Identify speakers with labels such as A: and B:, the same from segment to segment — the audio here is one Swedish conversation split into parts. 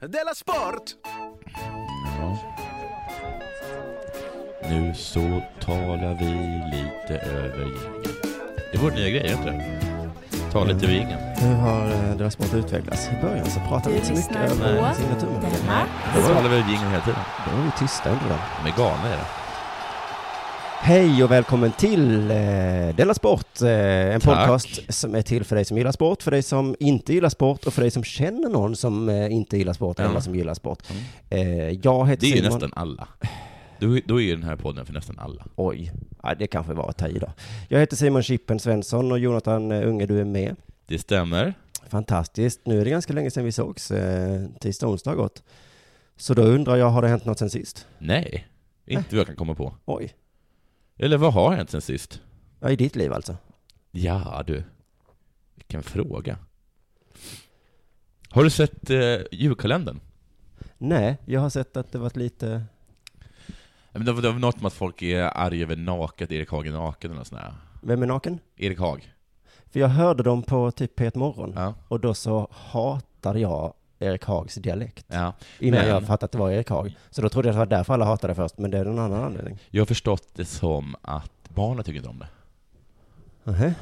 A: Della Sport!
B: Ja. Nu så talar vi lite över gängen. Det är vår nya grej, inte Ta lite över gängen.
C: Hur har eh, deras sport utvecklats? I början så pratade vi inte så mycket
D: lyssnar
C: över
D: på
C: signaturen.
D: Della.
B: Det var alla över gängen hela tiden.
C: Då var vi tysta under den.
B: De är galna är det.
C: Hej och välkommen till eh, Della Sport, eh, en
B: Tack.
C: podcast som är till för dig som gillar sport, för dig som inte gillar sport och för dig som känner någon som eh, inte gillar sport,
B: Ja.
C: eller som gillar sport.
B: Mm.
C: Eh, jag heter
B: Det är ju
C: Simon.
B: nästan alla. Då, då är ju den här podden för nästan alla.
C: Oj, ja, det kanske var att ta i då. Jag heter Simon Chippen Svensson och Jonathan eh, Unge, du är med.
B: Det stämmer.
C: Fantastiskt. Nu är det ganska länge sedan vi sågs, eh, tisdag och onsdag gått. Så då undrar jag, har det hänt något sen sist?
B: Nej, inte vad jag kan komma på.
C: Oj,
B: Eller vad har hänt sen sist?
C: ja, i ditt liv alltså.
B: Ja, du. Vilken fråga. Har du sett eh, julkalendern?
C: Nej, jag har sett att det varit lite...
B: Ja, men Det var, det var något med att folk är arga över naket, Erik Haag är naken eller något sånt där.
C: Vem är naken?
B: Erik Haag?
C: För jag hörde dem på typ P1 Morgon
B: Ja.
C: och då så hatade jag Erik Hags dialekt.
B: ja.
C: Innan
B: Men-
C: jag fattade att det var Erik Hag. Så då trodde jag att det var därför alla hatade det först, men det är en annan anledning.
B: Jag har förstått det som att barnen tycker inte om det.
C: Nähä.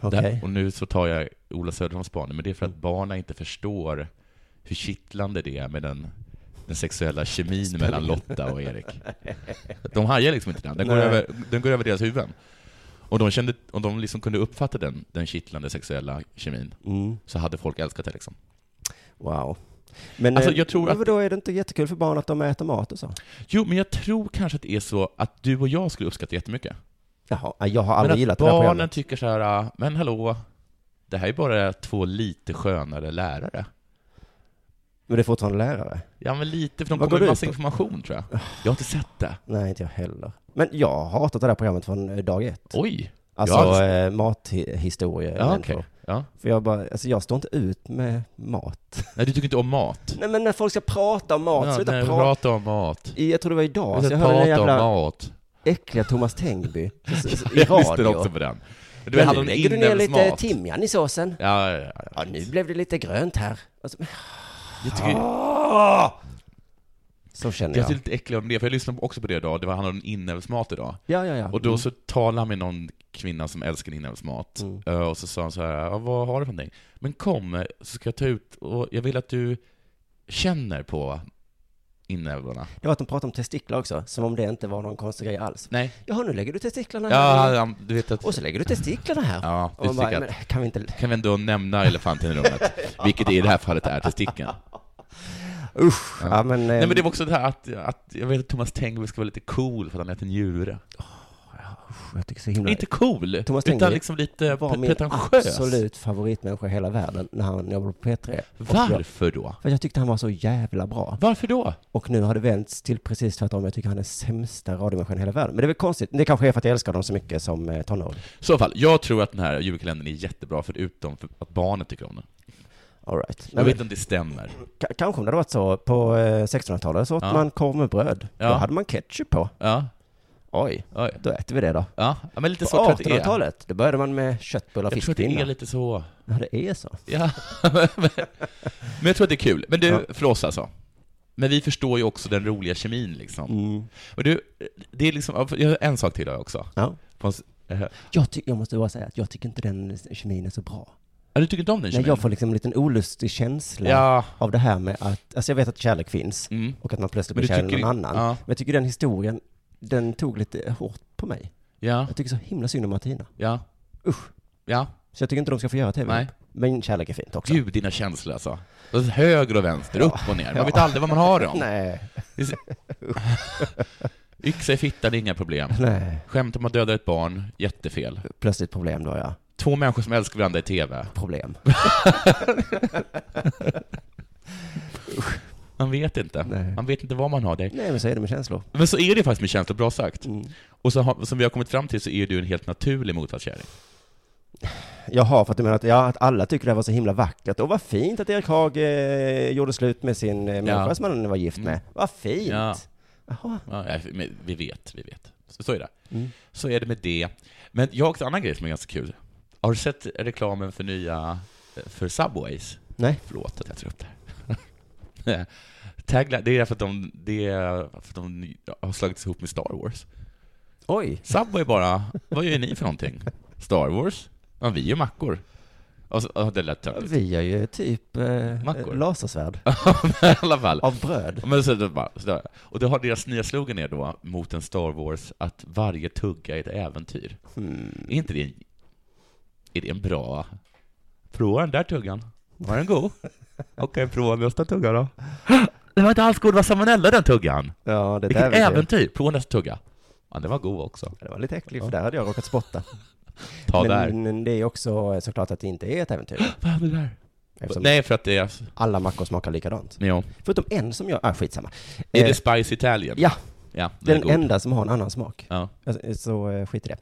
C: Okej.
B: Där- Och nu så tar jag Ola Söderholms barn, men det är för att barnen inte förstår hur kittlande det är med den, den sexuella kemin mellan Lotta och Erik. De hajar liksom inte den, den går,
C: Nej.
B: över, den går över deras huvuden. Och de, kände, och de liksom kunde uppfatta den, den kittlande sexuella kemin,
C: Mm.
B: så hade folk älskat det. Liksom.
C: Wow. Men
B: Alltså,
C: eh,
B: jag tror att-
C: då är det inte jättekul för barn att de äter mat och så?
B: Jo, men jag tror kanske att det är så att du och jag skulle uppskatta det jättemycket.
C: Jaha, nej, jag har
B: Men
C: aldrig
B: att
C: gillat det här
B: barnen
C: programmet.
B: tycker så här, "Ah, men hallå, det här är bara två lite skönare lärare.
C: Men det är fortfarande lärare?
B: Ja, men lite, för de
C: Vad
B: kommer
C: går
B: med
C: det
B: massa
C: ut på? Ah.
B: information tror jag. Jag har inte sett det.
C: Nej, inte jag heller. Men jag har hatat det här programmet från eh, dag ett.
B: Oj!
C: Alltså
B: Ja,
C: eh, mathistoria.
B: Ja,
C: människor.
B: okej. Ja.
C: För jag bara, alltså jag står inte ut med mat.
B: Nej, du tycker inte om mat?
C: Nej men när folk ska prata om mat,
B: Ja,
C: sluta
B: nej,
C: prata.
B: prata om mat.
C: I- Jag tror det var idag, så
B: Sluta
C: jag hörde den
B: prata om
C: jävla
B: mat.
C: äckliga Thomas Tengby s- s- i
B: Jag lyssnade
C: radio.
B: också på den. Men Du
C: Men
B: hade
C: nu
B: om
C: lägger du ner lite
B: inälvsmat.
C: timjan i såsen.
B: Ja, ja, ja.
C: Ja, nu blev det lite grönt här. Alltså,
B: Jag tycker,
C: så känner
B: jag
C: jag.
B: är lite äcklig om det, för jag lyssnade också på det idag. Det var han om inälvsmat idag.
C: Ja, ja, Mm. ja.
B: Och då så talade han med någon kvinna som älskar inälvsmat.
C: Mm.
B: Eh, Och så sa han så här, "Ja, vad har du för någonting? Men kom, eh, så ska jag ta ut, och jag vill att du känner på inälvorna.
C: Det var att de pratade om testiklar också, som om det inte var någon konstig grej alls.
B: Nej.
C: Jaha, nu lägger du testiklarna
B: Ja,
C: här.
B: han- du vet att...
C: Och så lägger du testiklarna här.
B: Ja,
C: och man
B: det
C: bara,
B: tycker
C: men
B: jag.
C: kan vi inte...
B: Kan vi ändå nämna elefanten i rummet? Vilket i det här fallet är testikeln.
C: Usch! Ja, men... eh,
B: Nej men det var också det här att, att jag vet att Thomas Tengby ska vara lite cool för att han äter njure.
C: jag tycker så himla...
B: Inte cool,
C: Thomas
B: utan
C: Tengby
B: liksom lite
C: var
B: pre-
C: min
B: pretentiös.
C: absolut favoritmänniska i hela världen när han jobbade på P3. Och Jag,
B: Varför då?
C: för jag tyckte han var så jävla bra.
B: Varför då?
C: Och nu har det vänts till precis tvärtom. Jag tycker han är sämsta radiomänniskan i hela världen. Men det är väl konstigt. Det kanske är för att jag älskar honom så mycket som eh, tonåring.
B: I så fall, jag tror att den här julkalendern är jättebra förutom för att barnet tycker om den.
C: All right.
B: Jag vet
C: Nej, men,
B: inte om det stämmer.
C: ka- kanske om det hade varit så på eh, 1600-talet så åt
B: Ja.
C: man korv med bröd.
B: Ja.
C: Då hade man ketchup på.
B: Ja,
C: Oj,
B: oj.
C: då äter vi det då.
B: ja ja, men lite
C: På
B: så tror jag att det är.
C: 1800-talet, då började man med köttbullar och
B: Jag tror att det är
C: fiskpinnar.
B: lite så.
C: Ja, det är så.
B: Ja. men jag tror att det är kul. Men du,
C: Ja.
B: för oss alltså. Men vi förstår ju också den roliga kemin
C: Mm.
B: liksom. Och du, det är liksom, jag har en sak till har jag också.
C: Ja.
B: På en s- eh,
C: Jag, ty- jag måste bara säga att jag tycker inte den kemin är så bra.
B: Ja, du tycker inte om den
C: Nej,
B: kemin?
C: jag får liksom en liten olustig känsla
B: Ja.
C: av det här med att, alltså jag vet att kärlek finns
B: Mm.
C: och att man plötsligt
B: Men
C: blir
B: du
C: kär i
B: tycker-
C: någon annan.
B: ja.
C: Men jag tycker den historien, den tog lite hårt på mig.
B: Ja,
C: Jag tycker så himla synd om Martina.
B: ja,
C: Usch.
B: ja.
C: Så jag tycker inte de ska få göra tv
B: Nej.
C: Men kärlek är fint också.
B: Gud, dina känslor alltså. Både Höger och vänster, upp och ner. Man vet aldrig vad man har dem.
C: Nej.
B: Det är så- Yxa i fittan, inga problem.
C: Nej.
B: Skämt om att döda ett barn, jättefel.
C: Plötsligt problem då, ja.
B: Två människor som älskar varandra i TV.
C: Problem.
B: Man vet inte.
C: Nej.
B: Man vet inte vad man har. Det.
C: Nej, men så är det med känslor.
B: Men så är det faktiskt med känslor, bra sagt.
C: Mm.
B: Och så har, som vi har kommit fram till så är du en helt naturlig motvallskärring.
C: Jaha, för att du menar att, ja, att alla tycker det här var så himla vackert. Och vad fint att Erik Haag eh, gjorde slut med sin eh, människa som han var gift med. Vad fint!
B: Mm. Ja.
C: Jaha. Mm.
B: Ja, nej, men vi vet, vi vet. Så, så är det. Så är det med det. Men jag har också en annan grej som är ganska kul. Har du sett reklamen eh, för nya, för Subways?
C: Nej.
B: Förlåt att jag tar upp det här. tagline, det är för att de, det är för att de har slagits ihop med Star Wars.
C: Oj!
B: Subway bara, vad gör ni för någonting? Star Wars? Ja, vi gör mackor. Och så, ja, det lät töntigt.
C: Vi gör ju typ eh,
B: Mackor.
C: lasersvärd
B: I alla fall.
C: av bröd.
B: Men så, det bara, så där. Och det har deras nya slogan är då, mot en Star Wars, att varje tugga är ett äventyr.
C: Hmm.
B: Är inte det en, är det en bra... Prova den där tuggan. Var den god? Okej, prova nästa tugga då. Det var inte alls god, det var salmonella den tuggan!
C: Ja, det är ett
B: Vilket
C: äventyr.
B: äventyr! Prova nästa tugga. Ja, den var god också.
C: Det var lite äckligt, för där hade jag råkat spotta.
B: Ta där.
C: Men det är också eh, såklart att det inte är ett äventyr.
B: Vad hände där?
C: Eftersom
B: Nej, för att det är...
C: alla mackor smakar likadant.
B: Ja.
C: Förutom en som jag... Ah, skitsamma.
B: Är det
C: Eh,
B: Spice Italien?
C: ja,
B: ja
C: det
B: den
C: är
B: är
C: den
B: god.
C: enda som har en annan smak.
B: Ja.
C: Alltså, Så eh, skit i det.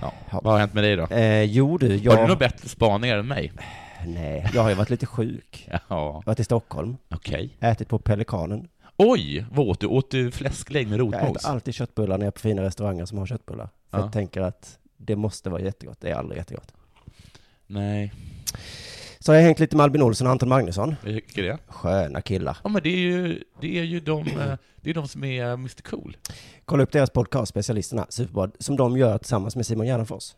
B: Ja.
C: Ja.
B: Vad har hänt med dig då?
C: Eh, jo du,
B: Har du några
C: jag...
B: bättre spaningar än mig?
C: Nej, jag har ju varit lite sjuk.
B: Ja,
C: Jag har varit i Stockholm,
B: okej.
C: ätit på Pelikanen.
B: Oj, vad åt du? Åt du fläsklägg med
C: Jag
B: rotmos?
C: äter alltid köttbullar när jag är på fina restauranger som har köttbullar. För
B: Ja.
C: jag tänker att det måste vara jättegott. Det är aldrig jättegott.
B: Nej,
C: Så har jag hängt lite med Albin Olsson och Anton Magnusson.
B: jag tycker det.
C: Sköna killar.
B: Ja, men det är ju, det är ju de, eh, det är de som är Mr Cool.
C: Kolla upp deras podcast, Specialisterna, Superbad, som de gör tillsammans med Simon Gärdenfors.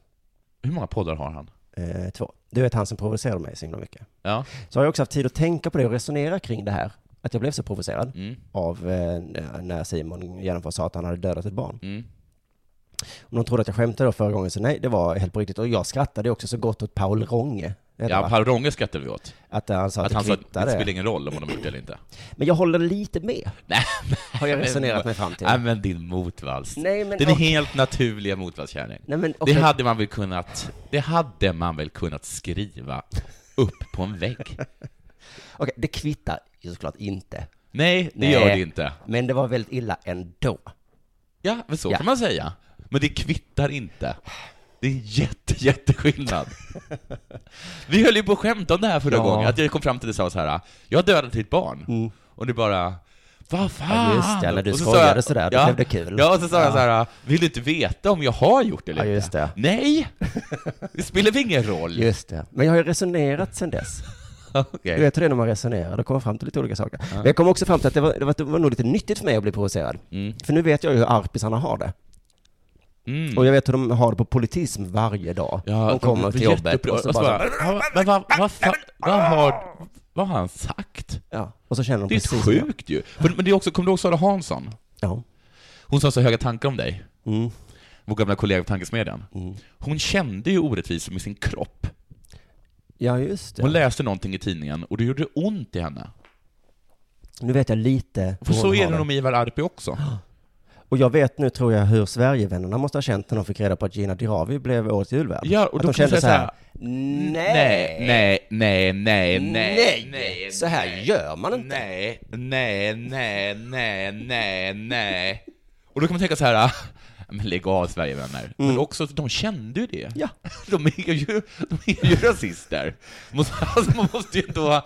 B: Hur många poddar har han?
C: Eh, två. Du vet han som provocerar mig så himla mycket.
B: Ja.
C: Så har jag också haft tid att tänka på det och resonera kring det här. Att jag blev så provocerad
B: Mm,
C: av eh, när Simon Gärdenfors sa att han hade dödat ett barn.
B: mm.
C: Om de trodde att jag skämtade då förra gången, så nej, det var helt på riktigt. Och jag skrattade också så gott åt Paul Ronge. heter
B: Ja,
C: han, va?
B: Per Ronge skrattade vi åt.
C: Att eh, han sa att,
B: Att han
C: det
B: sa att det
C: kvittade.
B: spelar ingen roll om de har gjort det eller inte.
C: Men jag håller lite med,
B: Nej,
C: har jag resonerat mig fram till.
B: Nej, men din motvals.
C: Nej, men...
B: Din
C: och-
B: helt naturliga motvallskärring.
C: Nej, men
B: Det
C: okej.
B: hade man väl kunnat, det hade man väl kunnat skriva upp på en vägg?
C: Okej, det kvittar ju såklart inte.
B: Nej, det
C: Nej.
B: gör det inte.
C: Men det var väldigt illa ändå.
B: Ja, men så
C: Ja.
B: kan man säga. Men det kvittar inte. Det är en jätte, jätteskillnad. Vi höll ju på att skämta om det här förra
C: Ja. Mm.
B: gången, att jag kom fram till dig och sa så här, jag har dödat ditt barn. Och du bara, vad fan?
C: Ja, just det, när du
B: Och sa
C: skojade
B: jag-
C: sådär, då blev det kul.
B: Ja, och så sa jag så här, vill du inte veta om jag har gjort det eller
C: Ja, just
B: inte?
C: det.
B: Nej! Det spelar väl ingen roll?
C: Just det. Men jag har ju resonerat sen dess.
B: Okej.
C: Du vet hur det är när man resonerar, då kommer man fram till lite olika saker. Men jag kom också fram till att det var, det, var, det var nog lite nyttigt för mig att bli provocerad.
B: Mm.
C: För nu vet jag ju hur arpisarna har det.
B: Mm.
C: Och jag vet hur de har det på politism varje dag. de kommer till jobbet och så
B: alltså,
C: bara,
B: vad, vad, vad, fan- vad, har, vad har han sagt?
C: ja, och så känner de
B: Det är
C: precis
B: sjukt ju. För, men det är också, kommer du ihåg Sara Hansson?
C: Ja.
B: Hon som har så höga tankar om dig,
C: Mm.
B: vår gamla kollega på Tankesmedjan. Hon kände ju orättvisor med sin kropp.
C: ja, just
B: Hon
C: det.
B: läste någonting i tidningen och det gjorde ont i henne.
C: Nu vet jag lite
B: För
C: hur
B: så
C: hon
B: är
C: har
B: det nog med Ivar Arpi också.
C: Och jag vet nu, tror jag, hur Sverigevännerna måste ha känt när de fick reda på att Gina Dirawi blev årets julvärd.
B: Ja, och
C: att
B: då
C: de
B: kan man
C: kände så
B: säga
C: här, nej,
B: nej, nej, nej, nej,
C: nej, så här
B: nej,
C: gör man inte.
B: Nej, nej, nej, nej, nej, nej. Och då kan man tänka så här, ah, men lägg av Sverigevänner. Men också, de kände ju det.
C: Mm. Ja.
B: De är ju, de är ju rasister. Måste, alltså, man måste ju då...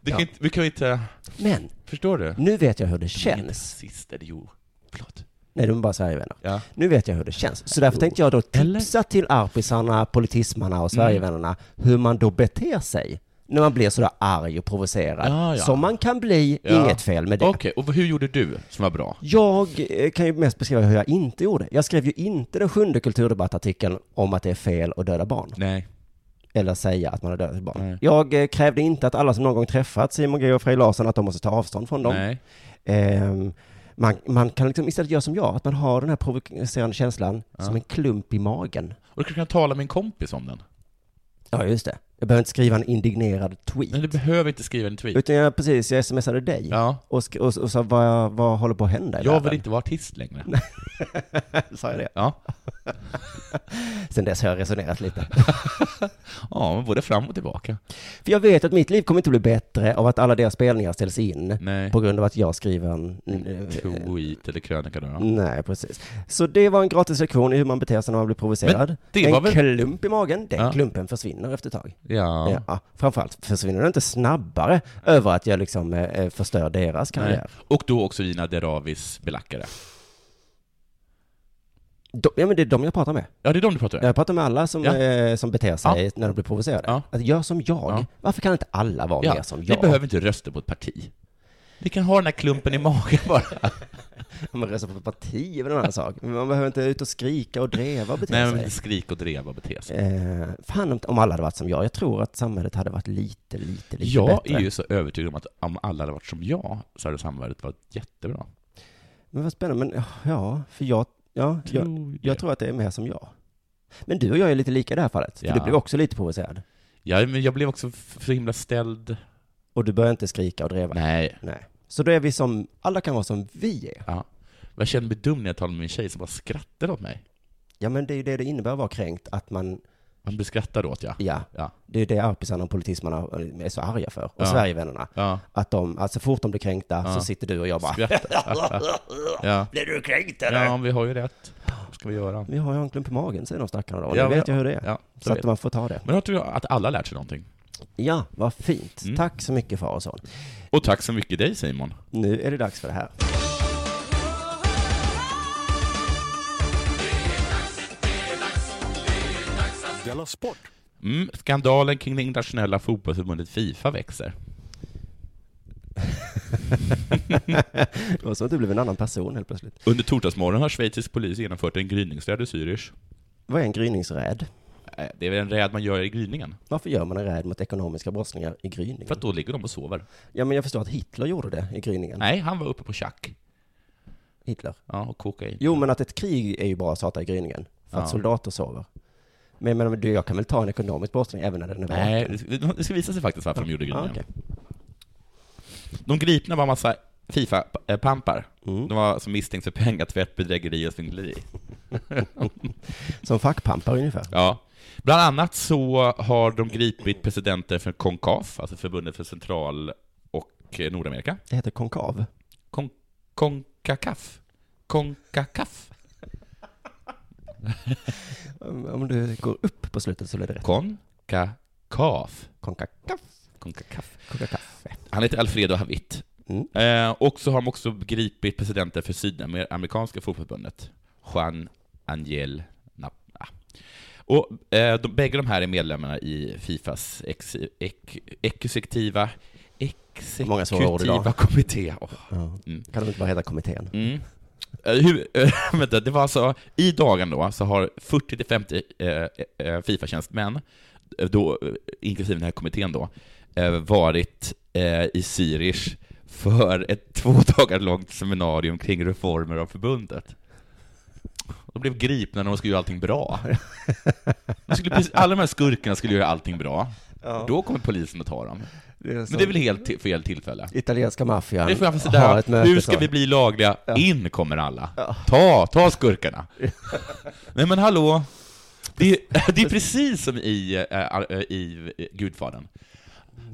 B: Det kan
C: Ja. Mm.
B: inte, vi kan ju inte...
C: Men
B: Förstår du?
C: nu vet jag hur det
B: De är inte
C: känns.
B: rasister, jo. Förlåt.
C: Nej, de är bara Sverigevänner.
B: Ja.
C: Nu vet jag hur det känns. Så därför tänkte jag då tipsa till arpisarna, politismarna och
B: Mm.
C: Sverigevännerna hur man då beter sig när man blir sådär arg och provocerad.
B: Ja, ja.
C: Som man kan bli,
B: Ja.
C: inget fel med det.
B: Okej, och hur gjorde du som var bra?
C: Jag eh, kan ju mest beskriva hur jag inte gjorde. Jag skrev ju inte den sjunde kulturdebattartikeln om att det är fel att döda barn.
B: Nej.
C: eller säga att man har dödat ett barn.
B: Nej.
C: Jag eh, krävde inte att alla som någon gång träffat Simon G och Frej Larsson att de måste ta avstånd från dem.
B: Nej.
C: Ehm, man, man kan liksom istället göra som jag, att man har den här provocerande känslan som en klump i magen.
B: Och du kanske kan tala med en kompis om den?
C: Ja, just det. Jag behöver inte skriva en indignerad tweet.
B: Nej, du behöver inte skriva en tweet.
C: Utan jag precis, jag smsade dig
B: Ja.
C: och, sk- och, och sa vad, vad håller på att hända i
B: Jag vill
C: världen?"
B: inte vara artist längre.
C: Sa jag det?
B: Ja.
C: Sen dess har jag resonerat lite.
B: ja, men både fram och tillbaka.
C: För jag vet att mitt liv kommer inte bli bättre av att alla deras spelningar ställs in
B: Nej.
C: på grund av att jag skriver en...
B: Tweet eller krönika då. då.
C: Nej, precis. Så det var en gratis lektion i hur man beter sig när man blir provocerad.
B: det
C: en
B: var väl-
C: klump i magen, den
B: Ja.
C: klumpen försvinner efter ett tag.
B: Ja.
C: Ja. framförallt försvinner den inte snabbare över att jag liksom eh, eh, förstör deras
B: Nej.
C: karriär.
B: Och då också Gina Deravis belackare.
C: De, ja, men det är de jag pratar med.
B: Ja, det är de du pratar med.
C: Jag pratar med alla som,
B: Ja.
C: eh, som beter sig när de blir provocerade.
B: Ja.
C: Att gör som jag.
B: Ja.
C: Varför kan inte alla vara mer som
B: Vi
C: jag?
B: behöver inte rösta på ett parti. Vi kan ha den här klumpen i magen bara.
C: Man röstar på parti är väl en annan sak. Men man behöver inte ut och skrika och dreva och bete
B: Nej,
C: sig.
B: men inte skrik och dreva och bete sig.
C: Eh, fan om, om alla hade varit som jag. Jag tror att samhället hade varit lite, lite, lite
B: Jag
C: bättre.
B: är ju så övertygad om att om alla hade varit som jag, så hade samhället varit jättebra.
C: Men vad spännande. Men ja, för jag, ja, jag,
B: Tror det.
C: jag tror att det är mer som jag. Men du och jag är lite lika i det här fallet. För
B: Ja.
C: du blev också lite provocerad.
B: Ja, men jag blev också f- så himla ställd.
C: Och du började inte skrika och dreva.
B: Nej.
C: Nej. Så då är vi som, alla kan vara som vi är.
B: Ja. Jag kände mig dum när jag talade med min tjej som bara skrattade åt mig.
C: Ja men det är ju det det innebär att vara kränkt, att man,
B: Man blir skrattad åt, ja.
C: ja,
B: Ja.
C: det är det arpisarna och politismarna är så arga för, och
B: Ja.
C: Sverigevännerna.
B: ja.
C: Att de, alltså fort de blir kränkta
B: Ja.
C: så sitter du och jag bara,
B: Skratta. ja.
C: blev du kränkt eller?
B: ja, vi har ju rätt. Vad ska vi göra?
C: Vi har ju en klump i magen säger de stackarna då,
B: Ja,
C: nu vet
B: men-
C: jag hur det är.
B: Ja,
C: så att man får ta det.
B: Men jag tror att alla har lärt sig någonting.
C: Ja, vad fint.
B: Mm.
C: Tack så mycket Faresson.
B: Och tack så mycket dig Simon.
C: Nu är det dags för det här.
A: Della Sport!
B: Mm, skandalen kring det internationella fotbollsförbundet Fifa växer.
C: Det var så att du blev en annan person helt plötsligt.
B: Under torsdagsmorgonen har schweizisk polis genomfört en gryningsräd i Zürich.
C: Vad är en gryningsräd?
B: Eh, Det är väl en räd man gör i gryningen?
C: Varför gör man en räd mot ekonomiska brottslingar i gryningen?
B: För att då ligger de och sover.
C: Ja, men jag förstår att Hitler gjorde det i gryningen.
B: Nej, han var uppe på tjack.
C: Hitler.
B: Ja, och kokain.
C: Jo, men att ett krig är ju bara att starta i gryningen. För att
B: Ja.
C: soldater sover. Men jag menar, du, jag kan väl ta en ekonomisk brottsling även när den är
B: Nej,
C: vaken?
B: det ska visa sig faktiskt varför de gjorde
C: Ah,
B: gryningen.
C: okej.
B: De gripna var massa Fifa-pampar.
C: Mm.
B: De var alltså misstänkta för pengatvätt, bedrägeri och svindleri.
C: Som fackpampar ungefär.
B: Ja. Bland annat så har de gripit presidenter för CONCAF, alltså förbundet för Central och eh, Nordamerika.
C: Det heter konkav.
B: Con- CONCACAF. CONCACAF.
C: Om om du går upp på slutet så är det rätt.
B: CONCACAF.
C: Konkakaff.
B: CONCACAF.
C: Konkakaffe.
B: Han heter Alfredo Havit.
C: Mm.
B: Eh, och så har de också gripit presidenten för Sydamerikanska fotbollförbundet, Juan Angel Nap. ah. Och eh, de, bägge de här är medlemmarna i Fifas ex, ek, exekutiva,
C: Många svåra ord idag.
B: exekutiva kommitté. Åh.
C: Ja.
B: Mm.
C: Kan de inte bara heta kommittén?
B: Mm. Eh, Hur, eh, vänta, det var alltså, i dagen då så har 40-50 eh, eh, Fifa-tjänstemän, eh, då, eh, inklusive den här kommittén då, eh, varit eh, i Zürich för ett två dagar långt seminarium kring reformer av förbundet. De blev gripna när de skulle göra allting bra. De skulle, precis- alla de här skurkarna skulle göra allting bra. Då kommer polisen att ta dem. Men det är väl helt ti- fel tillfälle?
C: Italienska maffian
B: Det får jag
C: har ett
B: där.
C: möte.
B: Hur ska
C: så.
B: vi bli lagliga?
C: Ja.
B: In kommer alla. Ta, ta skurkarna. Nej men hallå. Det är, det är precis som i, eh, eh, i Gudfadern.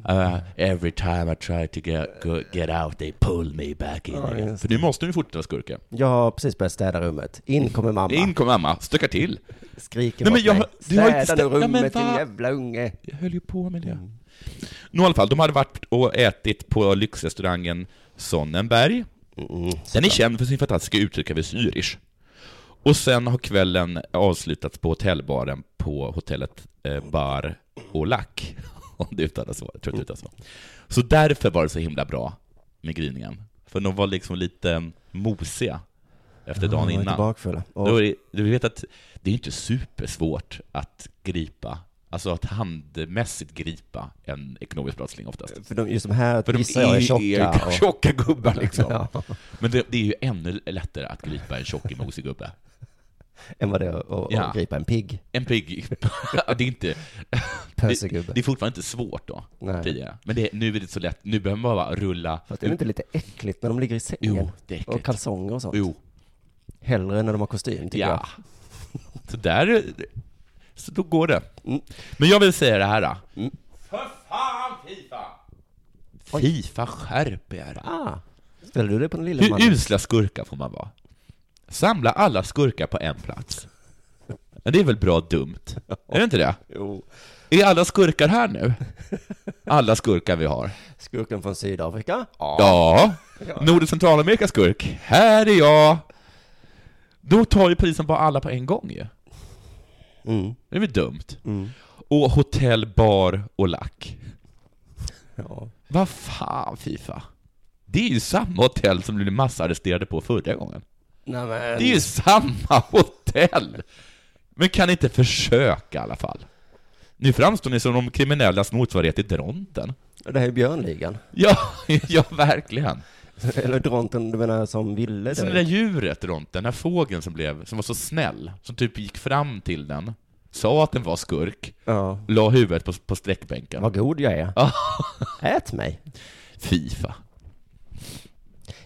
B: Eh, every time I try to get, go- get out they pull me back in
C: Ja,
B: again.
C: just
B: För nu måste vi fortsätta skurka.
C: Jag har precis börjat städa rummet. In kommer mamma.
B: In kommer mamma, stökar till.
C: Skriker
B: Nej,
C: åt
B: men jag-
C: mig.
B: du har inte
C: Städa nu
B: stä- Ja, men
C: rummet din
B: va?
C: jävla unge. Mm.
B: Jag höll ju på med det. Nå i alla fall, de hade varit och ätit på lyxrestaurangen Sonnenberg.
C: Mm.
B: Den är känd för sin fantastiska uttryck över Zürich. Och sen har kvällen avslutats på hotellbaren på hotellet eh, Bar Olak. Om det uttalas så. Jag tror att det uttalas så. Så därför var det så himla bra med gryningen. För de var liksom lite mosiga efter dagen
C: Ja, inte
B: innan.
C: bakfulla. Och,
B: Då är det, du vet att det är inte supersvårt att gripa, alltså att handmässigt gripa en ekonomisk brottsling oftast.
C: för de, just de här
B: För de
C: gissar jag är
B: är ju
C: tjocka. och-
B: tjocka gubbar liksom.
C: Ja,
B: Men det, det är ju ännu lättare att gripa en tjock mosig gubbe.
C: än vad det är att
B: Ja.
C: att gripa en pigg
B: En pigg... det, är inte,
C: pösegubbe.
B: det är fortfarande inte svårt då,
C: Nej.
B: tidigare. Men det, nu är det inte så lätt. Nu behöver man bara rulla...
C: Fast är det inte lite äckligt när de ligger i sängen?
B: Jo, det är
C: och
B: äckligt.
C: kalsonger och sånt.
B: Jo,
C: Hellre när de har kostym, tycker
B: ja. Så där... Så då går det.
C: Mm.
B: Men jag vill säga det här då. För fan Fifa! Fifa, skärp er!
C: jag. Ah, ställer du det på den lilla
B: Hur
C: mannen?
B: usla skurkar får man vara? Samla alla skurkar på en plats. Ja, det är väl bra dumt? Är det inte det?
C: Jo.
B: Är alla skurkar här nu? Alla skurkar vi har.
C: Skurken från Sydafrika?
B: Ja. Nord och Centralamerika skurk. Här är jag. Då tar ju polisen bara alla på en gång ju.
C: Mm.
B: Det är väl dumt?
C: Mm.
B: Och hotell, bar och lack.
C: Ja.
B: Vad fan, Fifa? Det är ju samma hotell som du blev massarresterade på förra gången.
C: Nej, men...
B: Det är ju samma hotell! Men kan inte försöka i alla fall. Nu framstår ni som de kriminellas motsvarighet till Dronten.
C: Det här är björnligan.
B: Ja, ja verkligen.
C: Eller dronten, du menar som ville
B: Sen
C: dö.
B: det där djuret, Dronten, den här fågeln som blev, som var så snäll, som typ gick fram till den, sa att den var skurk,
C: Ja.
B: la huvudet på, på sträckbänken.
C: Vad god jag är.
B: Ja.
C: Ät mig.
B: Fifa.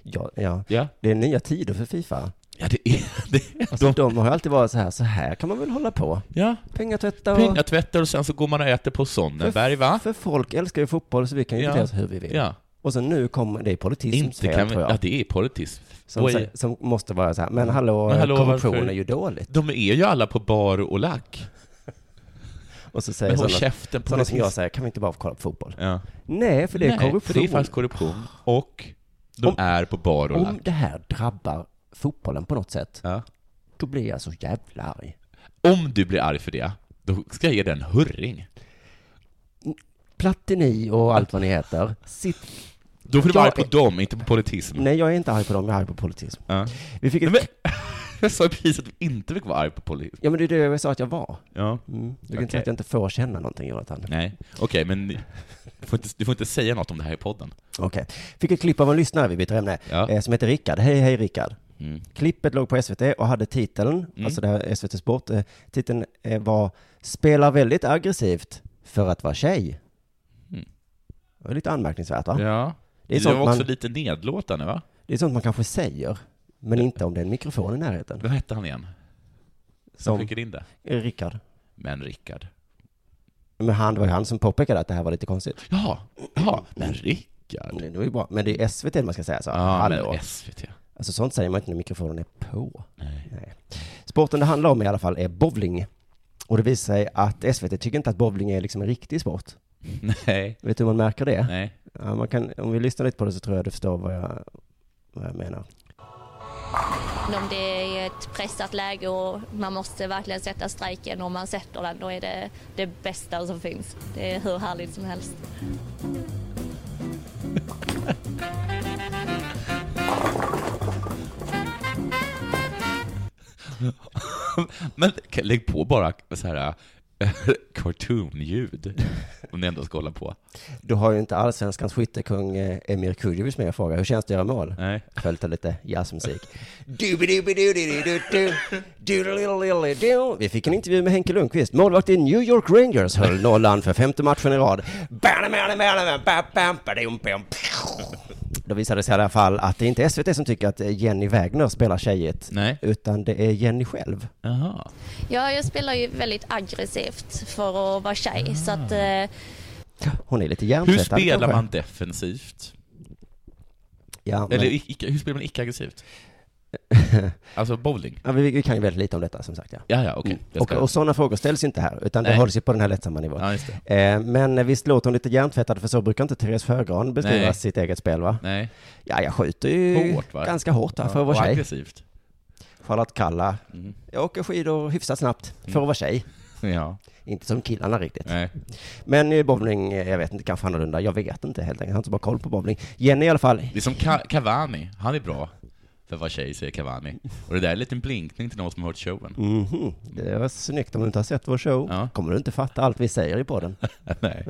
C: Ja, ja.
B: Ja,
C: Det är nya tider för Fifa.
B: ja det är det.
C: Alltså, de... har ju alltid varit så här, så här kan man väl hålla på.
B: Ja,
C: Pengatvätta och...
B: pengatvätter och sen så går man och äter på Sonnenberg, va?
C: För folk älskar ju fotboll så vi kan ju
B: Ja.
C: bete oss hur vi vill.
B: Ja.
C: Och så nu kommer, det är politismens
B: Inte
C: fel
B: kan vi,
C: tror
B: ja,
C: jag.
B: det är politism.
C: Som,
B: Oj.
C: sä- som måste vara så här, men hallå,
B: Men hallå,
C: korruption
B: varför-
C: är ju dåligt.
B: De är ju alla på bar och lack.
C: Och så säger
B: Men håll
C: sådana,
B: käften på
C: sådana som jag säger, kan vi inte bara få kolla på fotboll?
B: Ja.
C: Nej, för det är
B: Nej,
C: korruption.
B: För det är faktiskt korruption. Och de
C: Om-
B: är på bar och
C: Om
B: lack.
C: det här drabbar fotbollen på något sätt,
B: Ja.
C: då blir jag så jävla arg.
B: Om du blir arg för det, då ska jag ge dig en hurring.
C: Platini och allt vad ni heter, sitt...
B: Då får du vara arg
C: Jag-
B: på dem, inte på politism.
C: Nej, jag är inte arg på dem, jag är arg på politism.
B: Ja.
C: Vi fick ett...
B: Men, jag sa ju precis att du inte fick vara arg på politism.
C: Ja, men det är det jag sa att jag var.
B: Ja.
C: Mm. Du kan
B: Okej.
C: inte säga att jag inte får känna någonting, Jonathan.
B: Nej, okej, men du får, inte, du får inte säga något om det här i podden.
C: Okej. Fick ett klipp av en lyssnare, vi byter ämne,
B: Ja.
C: eh, som heter Rickard. Hej, hej Rickard.
B: Mm.
C: Klippet låg på SVT och hade titeln, alltså det här SVT Sport, eh, titeln eh, var “Spelar väldigt aggressivt för att vara tjej”.
B: Mm.
C: Det är lite anmärkningsvärt va?
B: Ja.
C: Det är
B: Det
C: sånt
B: var också
C: man-
B: lite nedlåtande, va?
C: Det är sånt man kanske säger, men inte om det är en mikrofon i närheten.
B: Vad hette han igen? Som
C: Som
B: skickade in det?
C: eh, Rickard.
B: Men Rickard.
C: Men han, det var ju han som påpekade att det här var lite konstigt.
B: Jaha, jaha, men Rickard?
C: Det var ju bra, men det är SVT man ska säga så.
B: Ja,
C: Hallå.
B: men SVT.
C: Alltså sånt säger man inte när mikrofonen är på.
B: Nej.
C: Sporten det handlar om i alla fall är bowling. Och det visar sig att SVT tycker inte att bowling är liksom en riktig sport.
B: Nej.
C: Vet du hur man märker det?
B: Nej.
C: Ja, man kan, om vi lyssnar lite på det så tror jag du förstår vad jag, vad jag menar.
A: Men om det är ett pressat läge och man måste verkligen sätta striken och man sätter den, då är det det bästa som finns. Det är hur härligt som helst.
B: Men k- lägg på bara så här äh, cartoon-ljud. Om ni ändå ska hålla på.
C: Du har ju inte allsvenskans skyttekung eh, Emir Kujovic med och frågar hur känns det att göra mål?
B: Nej.
C: Följt av lite jazzmusik. Doobidoobidoodididoodoo, doodalilililidoo. Vi fick en intervju med Henke Lundqvist, målvakt i New York Rangers, höll nollan för femte matchen i rad. Då visade det sig i alla fall att det inte är SVT som tycker att Jenny Wägner spelar tjejigt,
B: Nej.
C: utan det är Jenny själv.
B: Jaha.
A: Ja, jag spelar ju väldigt aggressivt för att vara tjej, så att eh,
C: Hon är lite
B: Hur
C: hjärntvättad
B: spelar
C: kanske.
B: man defensivt?
C: Ja, men,
B: Eller icke, hur spelar man icke-aggressivt? Alltså bowling?
C: ja, vi, vi kan ju väldigt lite om detta som sagt. Ja.
B: Ja, ja, okej. Jag
C: Och,
B: ska-
C: och sådana frågor ställs ju inte här, utan det
B: Nej.
C: hålls ju på den här lättsamma nivån.
B: Ja, just det.
C: Eh, Men visst låter hon lite hjärntvättad, för så brukar inte Therese Sjögran beskriva
B: Nej.
C: sitt eget spel va?
B: Nej.
C: Ja, jag skjuter ju
B: Hårt, va?
C: ganska hårt va, för att
B: Och
C: vara tjej.
B: aggressivt.
C: Charlotte Kalla.
B: Mm.
C: Jag åker skidor hyfsat snabbt, för att vara tjej.
B: Ja.
C: Inte som killarna riktigt.
B: Nej.
C: Men i bowling, eh, jag vet inte, kanske annorlunda. Jag vet inte helt enkelt, jag har inte så bra koll på bowling. Jenny i alla fall,
B: Det är som Ca- Cavani, han är bra för att vara tjej, säger Cavani. Och det där är en liten blinkning till någon som har hört showen.
C: mhm, det var snyggt om du inte har sett vår show.
B: Ja.
C: Kommer du inte fatta allt vi säger i podden.
B: Nej.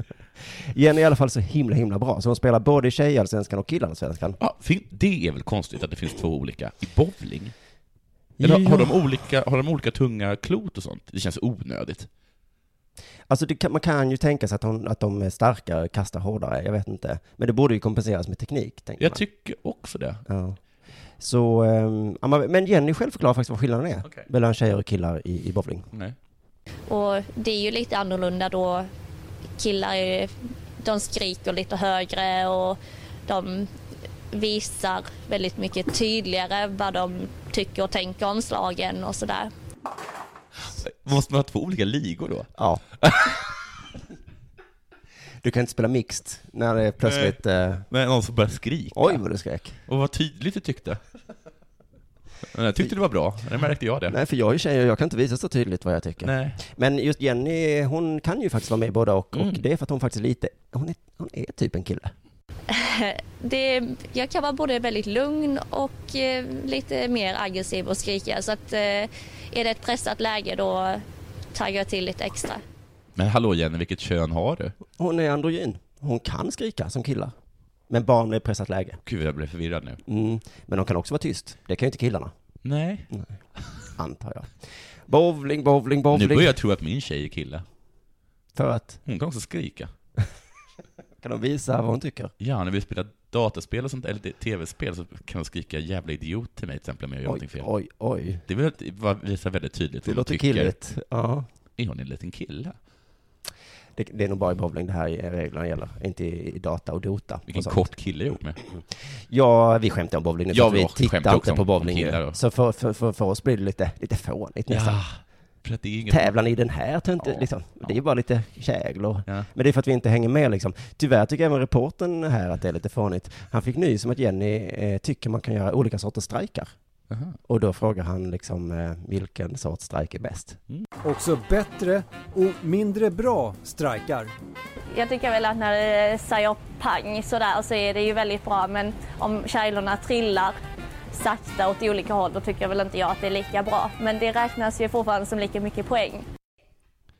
C: Jenny är i alla fall så himla, himla bra, så hon spelar både i tjejallsvenskan och killarallsvenskan.
B: Ja, fin- det är väl konstigt att det finns två olika i bowling? Eller har, de olika, har de olika tunga klot och sånt? Det känns onödigt.
C: Alltså det kan, man kan ju tänka sig att, hon, att de är starkare, kastar hårdare, jag vet inte. Men det borde ju kompenseras med teknik, tänker
B: Jag
C: man.
B: tycker också det.
C: Ja. Så, ehm, ja, man- men Jenny själv förklarar faktiskt vad skillnaden är
B: Okej.
C: mellan tjejer och killar i, i bowling.
B: Nej.
A: Och det är ju lite annorlunda då killar är, de skriker lite högre och de visar väldigt mycket tydligare vad de tycker och tänker om slagen och sådär.
B: Måste man ha två olika ligor då?
C: Ja. du kan inte spela mixed när det är plötsligt, eh,
B: Med någon som börjar skrika
C: oj vad du skrek.
B: och vad tydligt du tyckte. Jag tyckte det var bra, det märkte jag det.
C: Nej, för jag är ju tjej och jag kan inte visa så tydligt vad jag tycker.
B: Nej.
C: Men just Jenny, hon kan ju faktiskt vara med i båda och, och
B: Mm.
C: det är för att hon faktiskt är lite, hon är, hon är typ en kille.
A: Det, jag kan vara både väldigt lugn och eh, lite mer aggressiv och skrika. Så att, eh, är det ett pressat läge då taggar jag till lite extra.
B: Men hallå Jenny, vilket kön har du?
C: Hon är androgyn. Hon kan skrika som killar. Men barn är i pressat läge.
B: Gud, jag blev förvirrad nu.
C: Mm. Men hon kan också vara tyst. Det kan ju inte killarna,
B: Nej.
C: antar jag. Bowling, bowling,
B: Nu
C: bowling.
B: börjar jag tro att min tjej är kille.
C: För att,
B: Hon kan också skrika.
C: kan de visa vad hon tycker?
B: Ja, när vi spelar dataspel och sånt, eller tv-spel, så kan hon skrika 'jävla idiot' till mig till exempel om jag gör
C: Oj,
B: någonting fel.
C: oj, oj.
B: Det vill jag bara visa väldigt tydligt
C: Det
B: vad hon
C: låter
B: tycker.
C: killigt. Ja.
B: Är hon en liten kille?
C: Det, det är nog bara i bowling det här i- reglerna gäller, inte i i data och dota. och
B: Vilken
C: sånt.
B: kort kille jag gjort med.
C: Ja, vi skämtar om bowling nu,
B: Ja,
C: för att vi
B: jag
C: tittar
B: skämtar också
C: inte på
B: om-
C: bowling
B: om killar
C: nu.
B: då.
C: Så för, för, för, för oss blir det lite, lite fånigt nästan.
B: för att det är inget...
C: Tävlar ni i den här tönten,
B: Ja.
C: liksom? Det är ju bara lite kägel och...
B: Ja.
C: Men det är för att vi inte hänger med liksom. Tyvärr tycker även reporten här att det är lite fånigt. Han fick nys om att Jenny eh, tycker man kan göra olika sorters strejkar.
B: Aha.
C: Och då frågar han liksom eh, vilken sorts strejk är bäst.
D: Också bättre och mindre bra strejkar.
A: Jag tycker väl att när det säger pang sådär så är det ju väldigt bra men om kärlorna trillar sakta åt olika håll då tycker jag väl inte jag att det är lika bra. Men det räknas ju fortfarande som lika mycket poäng.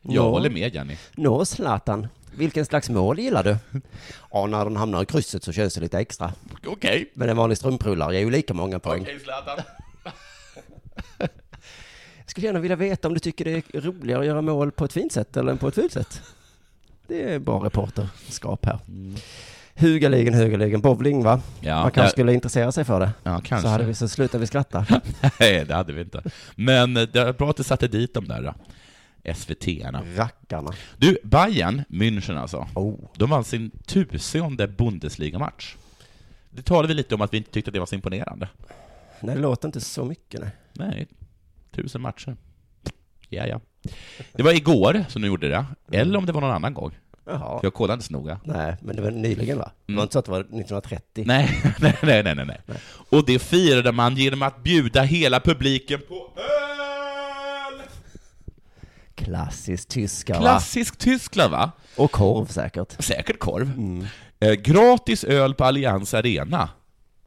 B: Jag
C: Nå.
B: håller med Jenny.
C: Nå, Zlatan, vilken slags mål gillar du? Ja, när den hamnar i krysset så känns det lite extra.
B: Okej.
C: Men en vanlig strumprullare ger ju lika många poäng.
B: Zlatan.
C: Jag skulle gärna vilja veta om du tycker det är roligare att göra mål på ett fint sätt eller än på ett fult sätt. Det är bra reporterskap här. Hugaligen, hugaligen, bowling va?
B: Mm. Ja,
C: Man kanske
B: där-
C: skulle intressera sig för det.
B: Ja, kanske.
C: Så hade vi så slutar vi skratta.
B: Nej, det hade vi inte. Men eh, det är bra att du satte dit de där eh, SVT-arna.
C: Rackarna.
B: Du, Bayern, München alltså,
C: Oh.
B: de vann sin tusende Bundesliga-match. Det talade vi lite om att vi inte tyckte att det var så imponerande.
C: Nej, det låter inte så mycket nej.
B: Nej, tusen matcher. Ja, ja. Det var igår som du gjorde det, eller om det var någon annan gång.
C: Jaha.
B: För jag kollade inte så noga.
C: Nej, men det var nyligen va? Det var
B: Mm.
C: inte så att det var 1930?
B: Nej, nej, nej, nej, nej, nej. Och det firade man genom att bjuda hela publiken på öl!
C: Klassiskt tyska va?
B: Klassisk Tyskland, va?
C: Och korv säkert.
B: Säkert korv.
C: Mm.
B: Eh, gratis öl på Allians Arena.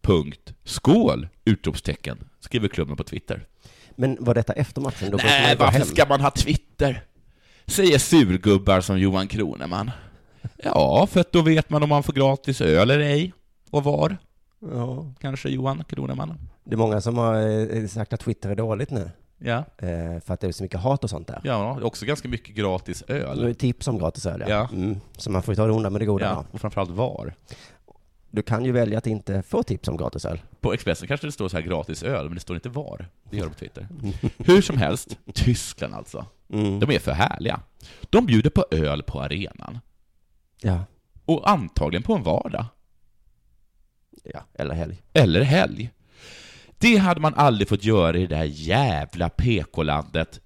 B: Punkt. Skål! Utropstecken. Skriver klubben på Twitter.
C: Men var detta efter matchen? Då får man
B: Nej,
C: ju gå
B: varför
C: hem.
B: ska man ha Twitter? Säger surgubbar som Johan Kroneman. Ja, för att då vet man om man får gratis öl eller ej. Och var,
C: Ja.
B: kanske Johan Kroneman.
C: Det är många som har eh, sagt att Twitter är dåligt nu.
B: Ja,
C: Eh, för att det är så mycket hat och sånt där.
B: ja det är också ganska mycket gratis
C: Nu är
B: öl.
C: tips om gratis öl, ja.
B: Ja.
C: Mm. Så man får ju ta det onda med det goda.
B: Ja,
C: va?
B: och framförallt var.
C: Du kan ju välja att inte få tips om gratis öl.
B: På Expressen kanske det står så här gratis öl, men det står inte var. Det gör det på Twitter. Hur som helst, Tyskland alltså.
C: Mm.
B: De är för härliga. De bjuder på öl på arenan.
C: Ja.
B: Och antagligen på en vardag.
C: ja, eller helg.
B: Eller helg. Det hade man aldrig fått göra i det där jävla PK-landet.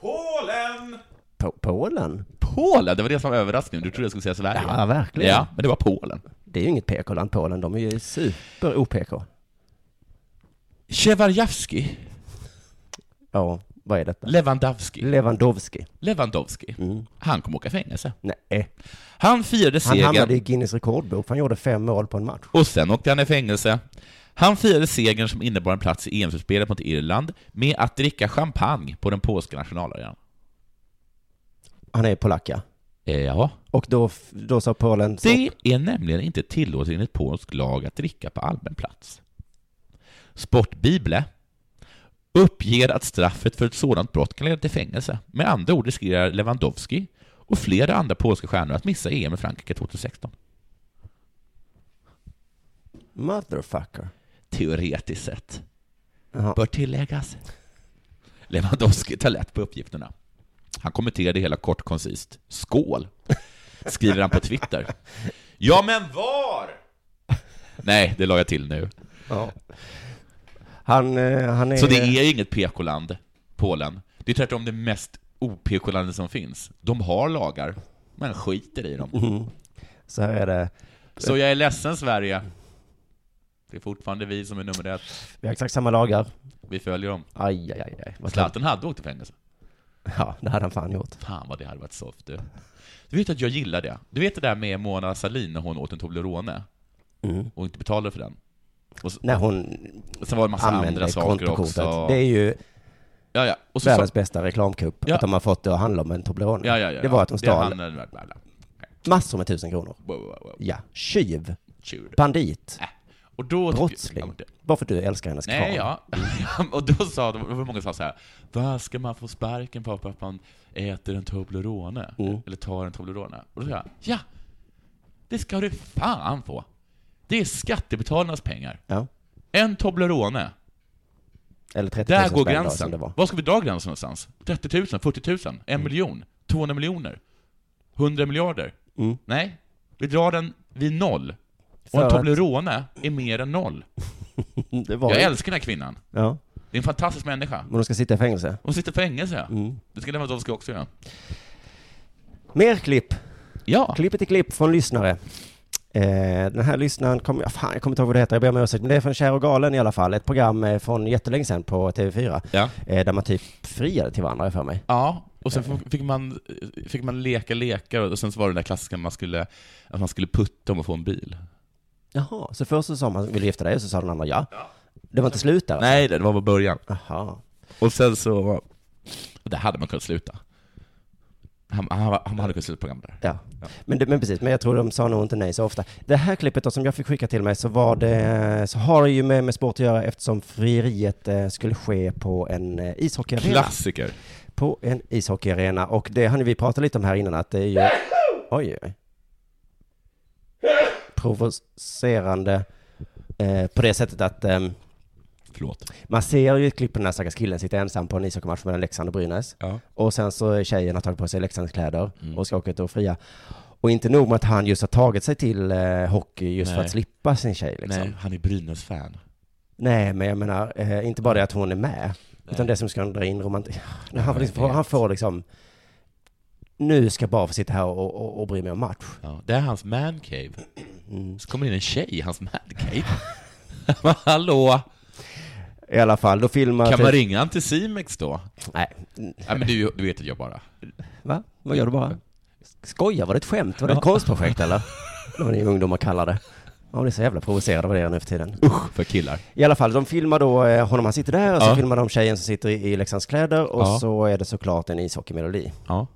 B: Polen!
C: På Polen?
B: Polen! Det var det som var överraskningen. Du trodde jag skulle säga Sverige.
C: Ja, verkligen.
B: Ja, men det var Polen.
C: Det är ju inget PK-land, Polen. De är ju super-OPK.
B: Tjevarjavski,
C: Ja, vad är detta?
B: Lewandowski,
C: Lewandowski.
B: Lewandowski.
C: Mm.
B: Han kommer åka fängelse.
C: Nej.
B: Han firade
C: Han hamnade i
B: segern
C: Guinness rekordbok, för han gjorde fem mål på en match.
B: och sen åkte han i fängelse. Han firade segern som innebar en plats i EM-slutspelet mot Irland med att dricka champagne på den polska nationalarenan.
C: Han är polack, ja.
B: Eh, Ja,
C: Och då, f- då sa Polen... så-
B: det är nämligen inte tillåtet enligt polsk lag att dricka på allmän plats. Sportbible uppger att straffet för ett sådant brott kan leda till fängelse. Med andra ord riskerar Lewandowski och flera andra polska stjärnor att missa EM i Frankrike 2016.
C: Motherfucker.
B: Teoretiskt sett,
C: Jaha.
B: bör tilläggas. Lewandowski tar lätt på uppgifterna. Han kommenterade hela kort koncist. Skål! Skriver han på Twitter. Ja, men var? Nej, det la jag till nu.
C: Ja. Han, eh, han är...
B: Så det är ju inget PK-land, Polen. Det är tvärtom det mest o-PK-landet som finns. De har lagar, men skiter i dem.
C: Mm. Så här är det.
B: Så jag är ledsen, Sverige. Det är fortfarande vi som är nummer ett.
C: Vi har exakt samma lagar.
B: Vi följer dem.
C: Aj, aj, aj. aj. Vad
B: Zlatan hade åkt i fängelse.
C: Ja, det hade han fan gjort.
B: Fan vad det hade varit soft du. Du vet att jag gillar det. Du vet det där med Mona Sahlin när hon åt en Toblerone
C: Mm.
B: och inte betalade för den? Och så,
C: När hon
B: sen var det en massa andra
C: använder
B: saker
C: kontokortet.
B: också.
C: Det är ju
B: Ja, ja. Och så,
C: världens bästa reklamkupp,
B: Ja.
C: att de har fått det att handla om en Toblerone.
B: ja, ja, ja,
C: det var att de
B: Det
C: stal
B: handlade- bla, bla,
C: massor med tusen kronor.
B: bla, bla, bla, bla.
C: Ja, tjuv,
B: Tjur.
C: bandit,
B: Äh. Och då...
C: brottsling. Bara för att du älskar hennes
B: Nej,
C: kvarn.
B: ja. och då sa de, det var många som sa så här, vad ska man få sparken på för att man äter en Toblerone?
C: Mm.
B: Eller tar en Toblerone? Och då sa jag, ja! Det ska du fan få! Det är skattebetalarnas pengar.
C: Ja.
B: En Toblerone,
C: Eller 30 000
B: där går
C: spänn då, som
B: gränsen.
C: det var.
B: Var ska vi dra gränsen någonstans? 30 000, 40 000, en miljon, 200 miljoner, 100 miljarder?
C: Mm.
B: Nej, vi drar den vid noll. Och
C: För
B: en
C: att-
B: Toblerone är mer än noll.
C: Mm, Det var
B: Jag
C: ju-
B: älskar den här kvinnan.
C: Ja,
B: Det är en fantastisk människa.
C: men de ska sitta i fängelse.
B: Hon sitter i fängelse.
C: Mm.
B: Det ska Lewandowski också göra.
C: Mer klipp.
B: Ja.
C: Klippet är klipp från lyssnare. Eh, den här lyssnaren kommer, ja, fan jag kommer inte ihåg vad det heter, jag ber om ursäkt, men det är från Kär och galen i alla fall, ett program eh, från jättelänge sedan på TV4,
B: Ja.
C: eh, där man typ friade till varandra har jag för mig.
B: ja. Och sen fick man, fick man leka lekar och sen så var det den där klassiska man skulle, att man skulle putta om att få en bil.
C: Jaha, så först så sa man, vill du gifta dig? Och så sa den andra ja. Det var inte slut där? alltså?
B: Nej, det var bara början.
C: Jaha.
B: Och sen så... Det hade man kunnat sluta. Han, han, var- han hade kunnat sluta programmet där.
C: Ja. Men, det, men precis, men jag tror de sa nog inte nej så ofta. Det här klippet då som jag fick skicka till mig så var det, så har det ju med, med sport att göra eftersom frieriet eh, skulle ske på en eh, ishockeyarena.
B: Klassiker.
C: På en ishockeyarena och det hann vi prata lite om här innan att det är ju... Oj, oj. Provocerande eh, på det sättet att ehm,
B: Förlåt.
C: man ser ju ett klipp på den här stackars killen sitta ensam på en ishockeymatch mellan Leksand och Brynäs.
B: Ja.
C: Och sen så är tjejen har tagit på sig Leksands kläder
B: Mm.
C: och ska åka ut och fria. Och inte nog med att han just har tagit sig till eh, hockey just för
B: Nej.
C: att slippa sin tjej liksom.
B: Nej,
C: Nej,
B: han är Brynäs-fan.
C: men jag menar, eh, inte bara det att hon är med, utan det som ska dra in romantik. Han, får
B: jag
C: liksom,
B: vet.
C: han får liksom, nu ska jag bara få sitta här och, och, och bry mig om match.
B: Ja, det är hans mancave.
C: Mm.
B: Så kommer in en tjej i hans mancave. Hallå!
C: I alla fall, då filmar... typ-
B: Kan man ringa han till Simex då?
C: Nej,
B: Nej, men du, du vet att jag bara...
C: va? Vad gör du bara? Skojar, var det ett skämt? Var det ett konstprojekt eller? Eller vad ni ungdomar kallar det. Man blir så jävla provocerad av det nu för tiden.
B: Usch, för killar.
C: I alla fall, de filmar då eh, honom, han sitter där, och så
B: Ja.
C: filmar de tjejen som sitter i, i Leksands kläder, och
B: Ja.
C: så är det såklart en ishockeymelodi.
B: Ja.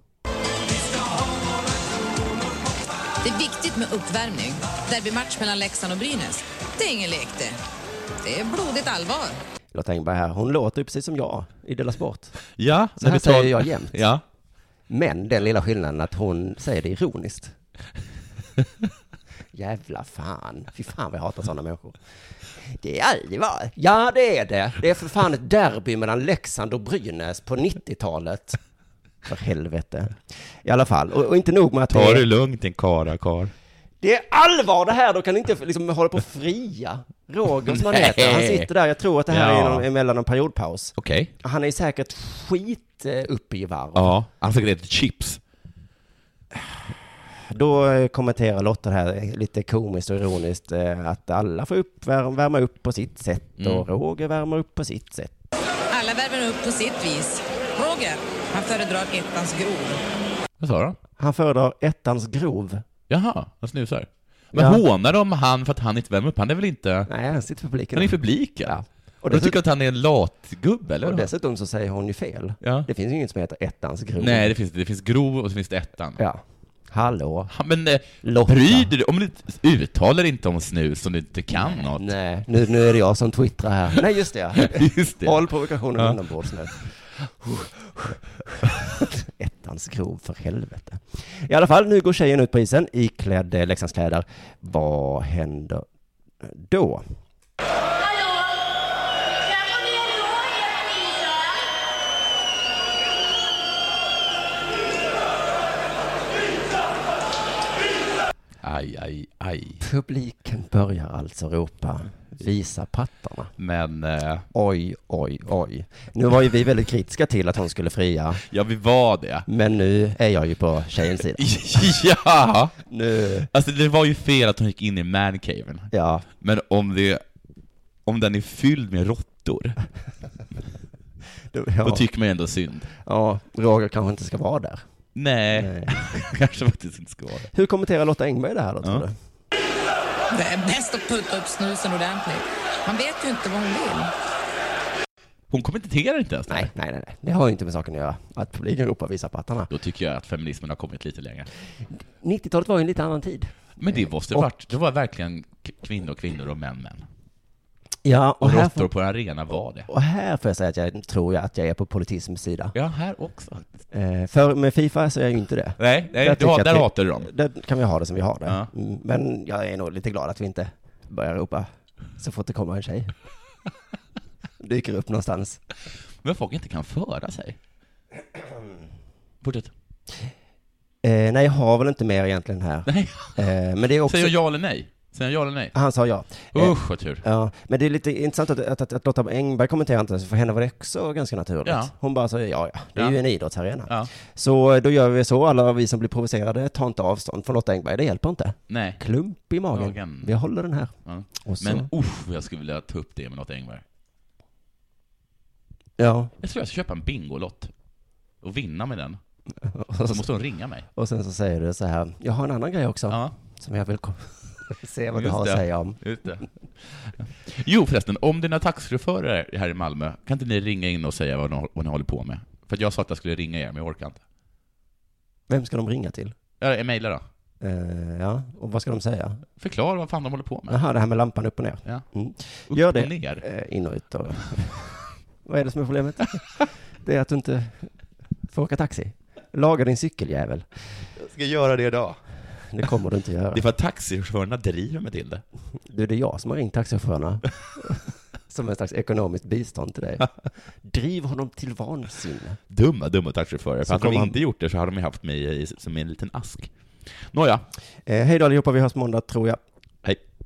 E: Det är viktigt med uppvärmning. Derbymatch mellan Leksand och Brynäs. Det är ingen lek det. Det är blodigt allvar.
C: Lotta Engberg här, hon låter ju precis som jag i Della Sport.
B: Ja,
C: Så här
B: vi tar-
C: säger jag jämt.
B: Ja.
C: Men den lilla skillnaden att hon säger det ironiskt. Jävla fan. Fy fan vad jag hatar sådana människor. Det är aldrig va? Ja, det är det. Det är för fan ett derby mellan Leksand och Brynäs på 90-talet. För helvete. I alla fall, och, och inte nog med att det
B: Ta
C: är-
B: det lugnt din kara kar.
C: Det är allvar det här, då kan ni inte liksom hålla på och fria. Roger som han heter, han
B: Nej.
C: sitter där, jag tror att det här
B: Ja.
C: är någon, mellan en periodpaus.
B: Okej.
C: Han är säkert skit eh, uppe i varv.
B: Ja, han fick ett chips.
C: Då eh, kommenterar Lotta det här eh, lite komiskt och ironiskt eh, att alla får upp, vär- värma upp på sitt sätt
B: Mm.
C: och Roger värmer upp på sitt sätt.
E: Alla värmer upp på sitt vis. Roger, han föredrar ettans grov.
B: Vad sa de?
C: Han föredrar ettans grov.
B: Jaha, han snusar. Men
C: Ja.
B: hånar de han för att han inte värmer upp? Han är väl inte...
C: Nej, han sitter i publiken.
B: Han är i publiken.
C: Ja.
B: Och
C: Och
B: de
C: dessutom-
B: tycker att han är en latgubbe, eller?
C: och
B: vadå?
C: dessutom så säger hon ju fel.
B: Ja.
C: Det finns ju inget som heter ettans grov.
B: Nej, det finns, det finns grov och så finns det ettan.
C: Ja. Hallå.
B: Ja, Men eh,
C: Lotta.
B: bryr du dig- Om du inte- uttalar dig inte om snus som du inte kan något.
C: Nej, nu, nu är det jag som twittrar här. Nej, just det. ja.
B: Just det.
C: Håll provokationen
B: Ja.
C: inombords nu. Ettans grov, för helvete. I alla fall, nu går tjejen ut på isen iklädd eh, Leksandskläder. Vad händer då?
F: Hallå? Kan jag få ner då er polis, va?
B: Aj, aj, aj.
C: Publiken börjar alltså ropa visa pattarna.
B: Men, eh,
C: Oj, oj, oj. Nu var ju vi väldigt kritiska till att hon skulle fria,
B: ja, vi var det.
C: men nu är jag ju på tjejens sida.
B: ja!
C: Nu,
B: Alltså det var ju fel att hon gick in i mancaven.
C: ja,
B: Men om det om den är fylld med råttor, då
C: Då, ja,
B: tycker man ju ändå synd.
C: ja, Roger kanske inte ska vara där.
B: Nej,
C: Nej.
B: kanske faktiskt inte ska vara det.
C: Hur kommenterar Lotta Engberg det här då, tror
B: Ja.
C: du?
E: Det är bäst att putta upp snusen ordentligt. Man vet ju inte vad hon vill.
B: Hon kommenterar inte ens det
C: Nej,
B: här.
C: nej, nej, nej. Det har ju inte med saken att göra. Att publiken ropar visa pattarna.
B: Då tycker jag att feminismen har kommit lite längre.
C: 90-talet var ju en lite annan tid.
B: Men det måste
C: Och-
B: ha varit, det var verkligen k- kvinnor, kvinnor och män, män.
C: Ja,
B: Och
C: här,
B: råttor
C: får,
B: på en arena var det.
C: och här får jag säga att jag tror jag att jag är på politismens sida.
B: Ja, här också.
C: Eh, för med Fifa så är jag ju inte det.
B: Nej, nej
C: Jag
B: du har,
C: tycker
B: där
C: att-
B: hatar du dem.
C: Där kan vi ha det som vi har det.
B: Ja.
C: Mm, Men jag är nog lite glad att vi inte börjar ropa så fort det kommer en tjej. Dyker upp någonstans.
B: Men folk inte kan föra sig. Fortsätt.
C: Eh, nej, jag har väl inte mer egentligen här.
B: Nej,
C: Eh, men det är också...
B: säger jag ja eller nej? Säger jag ja eller nej?
C: Han sa ja. Eh,
B: Usch, vad tur.
C: Ja, men det är lite intressant att, att, att, att Lotta Engberg kommenterar inte, för henne var det också ganska naturligt.
B: Ja.
C: Hon bara sa ja, ja, det är
B: Ja.
C: ju en idrottsarena.
B: Ja.
C: Så då gör vi så, alla vi som blir provocerade, ta inte avstånd från Lotta Engberg, det hjälper inte.
B: Nej.
C: Klump i magen.
B: Magen.
C: Vi håller den här.
B: Ja.
C: Och så,
B: Men usch, jag skulle vilja ta upp det med något Engberg.
C: ja,
B: Jag tror jag ska köpa en bingolott och vinna med den.
C: och,
B: Så
C: så,
B: måste hon ringa mig.
C: och sen så säger du så här, jag har en annan grej också,
B: Alltså- Ja,
C: som jag vill kom- se vad du
B: Just
C: har att
B: det.
C: säga om.
B: just det. Jo förresten, om det är några taxichaufförer här i Malmö, kan inte ni ringa in och säga vad ni, vad ni håller på med? För att jag sa att jag skulle ringa er, men jag orkar inte.
C: Vem ska de ringa till?
B: Ja, mejla då.
C: Eh, ja, och vad ska de säga?
B: Förklara vad fan de håller på med.
C: Jaha, det här med lampan upp och ner.
B: Ja.
C: Mm.
B: Upp
C: Gör det.
B: och ner.
C: Eh, In och ut och... Vad är det som är problemet? Det är att du inte får åka taxi. Laga din cykeljävel.
B: Jag ska göra det idag.
C: Det kommer du inte göra.
B: Det är för att taxichaufförerna driver mig till det.
C: Du, det är jag som har ringt taxichaufförerna. Som en slags ekonomiskt bistånd till dig. Driv honom till vansinne.
B: Dumma, dumma taxichaufförer.
C: Så
B: För hade de
C: kommer han-
B: inte gjort det så hade de ju haft mig i, som en liten ask. Nåja,
C: Eh, hej då allihopa, vi hörs måndag tror jag.
B: hej.